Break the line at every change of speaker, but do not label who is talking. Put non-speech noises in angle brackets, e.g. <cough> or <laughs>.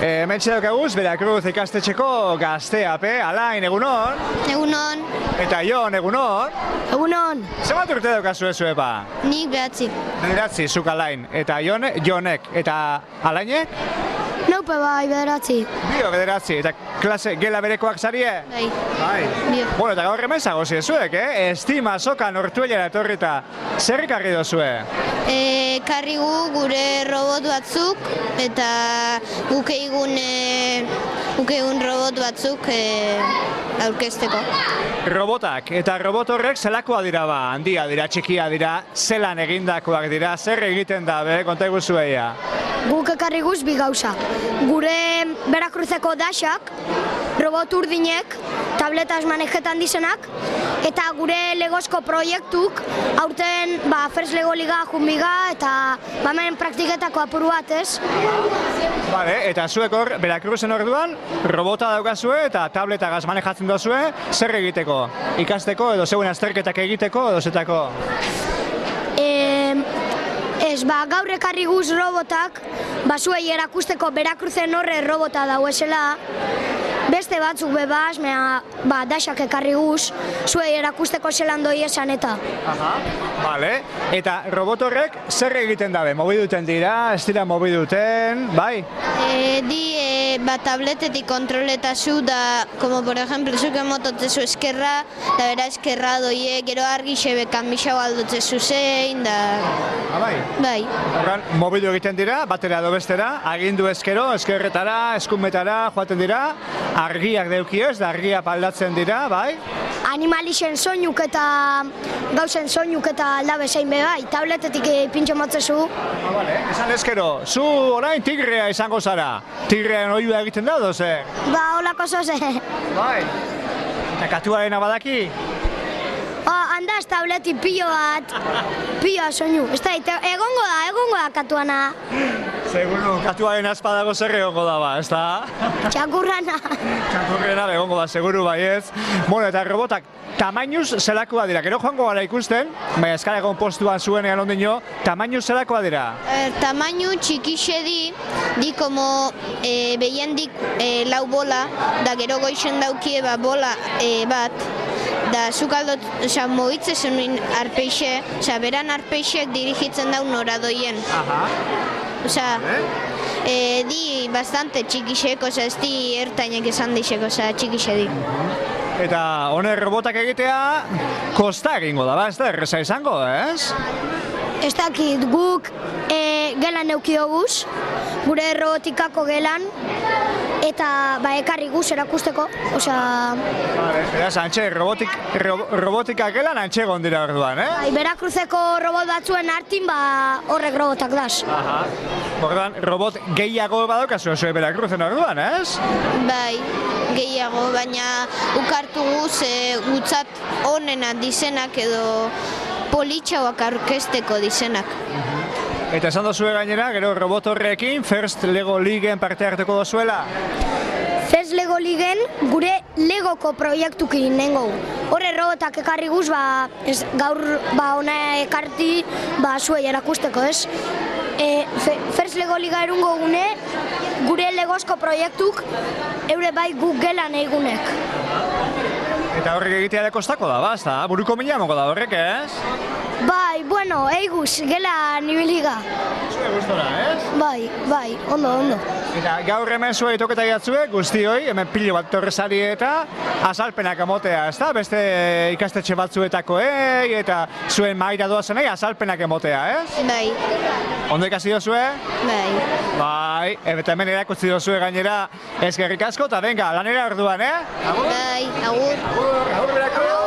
E, Mentxe daukaguz, Berakruz ikastetxeko gazte ape, alain, egunon,
Egunon.
eta jon, egunon.
Egunon.
Zenbat urte daukazu ez zuepa?
Nik behatzi.
Bederatzi, zuk alain, eta jone, jonek, eta alainek?
Naupe bai, bederatzi.
Bio bederatzi, eta klase gela berekoak zarie?
Bai.
Bai.
Bio.
Bueno, eta gaur hemen zagozie zuek, eh? Estima soka nortuelera etorrita. Zer ikarri dozue?
E, karri gu gure robot batzuk eta guk eigun, e, guk eigun robot batzuk e, aurkezteko.
Robotak, eta robot horrek zelakoa dira ba? Handia dira, txikia dira, zelan egindakoak dira, zer egiten da, be? Konta iguzueia.
Guk ekarri guz bi gauza. Gure berakruzeko dasak, robot urdinek, tabletas manejetan dizenak, eta gure legozko proiektuk, aurten ba, First Lego Liga jumbiga, eta bamen praktiketako apur bat ez.
Bale, eta zuek hor, Berakruzen orduan, robota daukazue eta tableta manejatzen dozue, zer egiteko? Ikasteko edo zeuen azterketak egiteko edo zetako?
E, ez, ba, gaur ekarri guz robotak, basuei erakusteko berakruzen horre robota dauesela, beste batzuk bebas, mea, ba, dasak ekarri guz, zuei erakusteko zelan doi esan eta.
Aha. Bale, eta robot horrek zer egiten dabe? Mobi duten dira, ez dira mobi duten, bai?
E, di e, ba, tabletetik kontroletazu da, como por ejemplo, zuke mototezu eskerra, da bera eskerra doie, gero argi xebe kanbixau aldotzezu zein, da,
Ah, bai.
bai.
Orduan, mobilu egiten dira, batera edo bestera, agindu ezkero, eskerretara, eskumetara joaten dira, argiak deukio ez, da argia paldatzen dira, bai?
Animalixen soinuk eta gauzen soinuk eta aldabe zein bebai, tabletetik eh, pintxo motzezu.
Ah, bale. Esan ezkero, zu orain tigrea izango zara. Tigrean oiua egiten da, edo zer?
Ba, holako zoze. <laughs>
Bai. Eta katuarena badaki?
Ba, handaz tabletik pilo bat, pilo bat soinu. Ez da, ite- egongo da, egongo da katuana,
Seguru. Katuaren azpadago zer egongo da ba, ez <laughs> da?
txakurrana. <laughs>
Katuarena egongo da, seguru bai ez. Bueno, eta robotak tamainuz zelakoa dira. Gero joango gara ikusten, baina eskara egon postuan zuenean ondino, tamainuz zelakoa dira.
Eh, tamainu txikixe di, di como e, behiendik e, lau bola, da gero goixen daukie ba bola e, bat, da zuk aldot, oza, mogitzezen arpeixe, oza, beran arpeixek dirigitzen dau noradoien.
Aha. Eh?
Oza, e, di bastante txikixek, oza, ez di ertainak esan dixek, oza, txikixe di.
Eta honen robotak egitea kosta egingo da, ba, ez da erreza izango, ez?
Ez dakit guk e, gelan eukioguz, gure robotikako gelan, eta ba, ekarri guz erakusteko, osea,
Vale, beraz, antxe, robotik, ro, robotika gelan antxe egon dira orduan, eh?
bai, berakruzeko robot batzuen hartin ba, horrek robotak daz.
Aha. Orduan, robot gehiago badaukazu zuen Berakruzen orduan, ez?
Bai, gehiago, baina ukartu guz e, gutzat onena dizenak edo politxauak aurkezteko dizenak.
Eta esan dozue gainera, gero robot horrekin First Lego Leagueen parte hartuko dozuela.
Fez Lego Ligen gure Legoko proiektukin nengo. Horre robotak ekarri guz, ba, ez, gaur ba, ona ekarti ba, zuei erakusteko, ez? E, fe, Fez Lego Liga erungo gune, gure Legozko proiektuk, eure bai guk gelan egunek.
Eta horrek egitea ere kostako da, basta, buruko mila moko da horrek, ez?
Bai, bueno, eiguz, gela nibiliga.
Zue gustora, ez?
Bai, bai, ondo, ondo.
Eta gaur hemen zuei toketa jatzue, guztioi, hemen pilo bat torrezari eta azalpenak emotea, ez da? Beste ikastetxe batzuetakoei eta zuen maira doazenei azalpenak emotea, ez?
Bai,
Ondo ikasi dozue?
bai.
Bai, eta hemen erakutsi dozue gainera eskerrik asko, eta venga, lanera orduan, eh?
Bai, agur.
Agur, agur berako!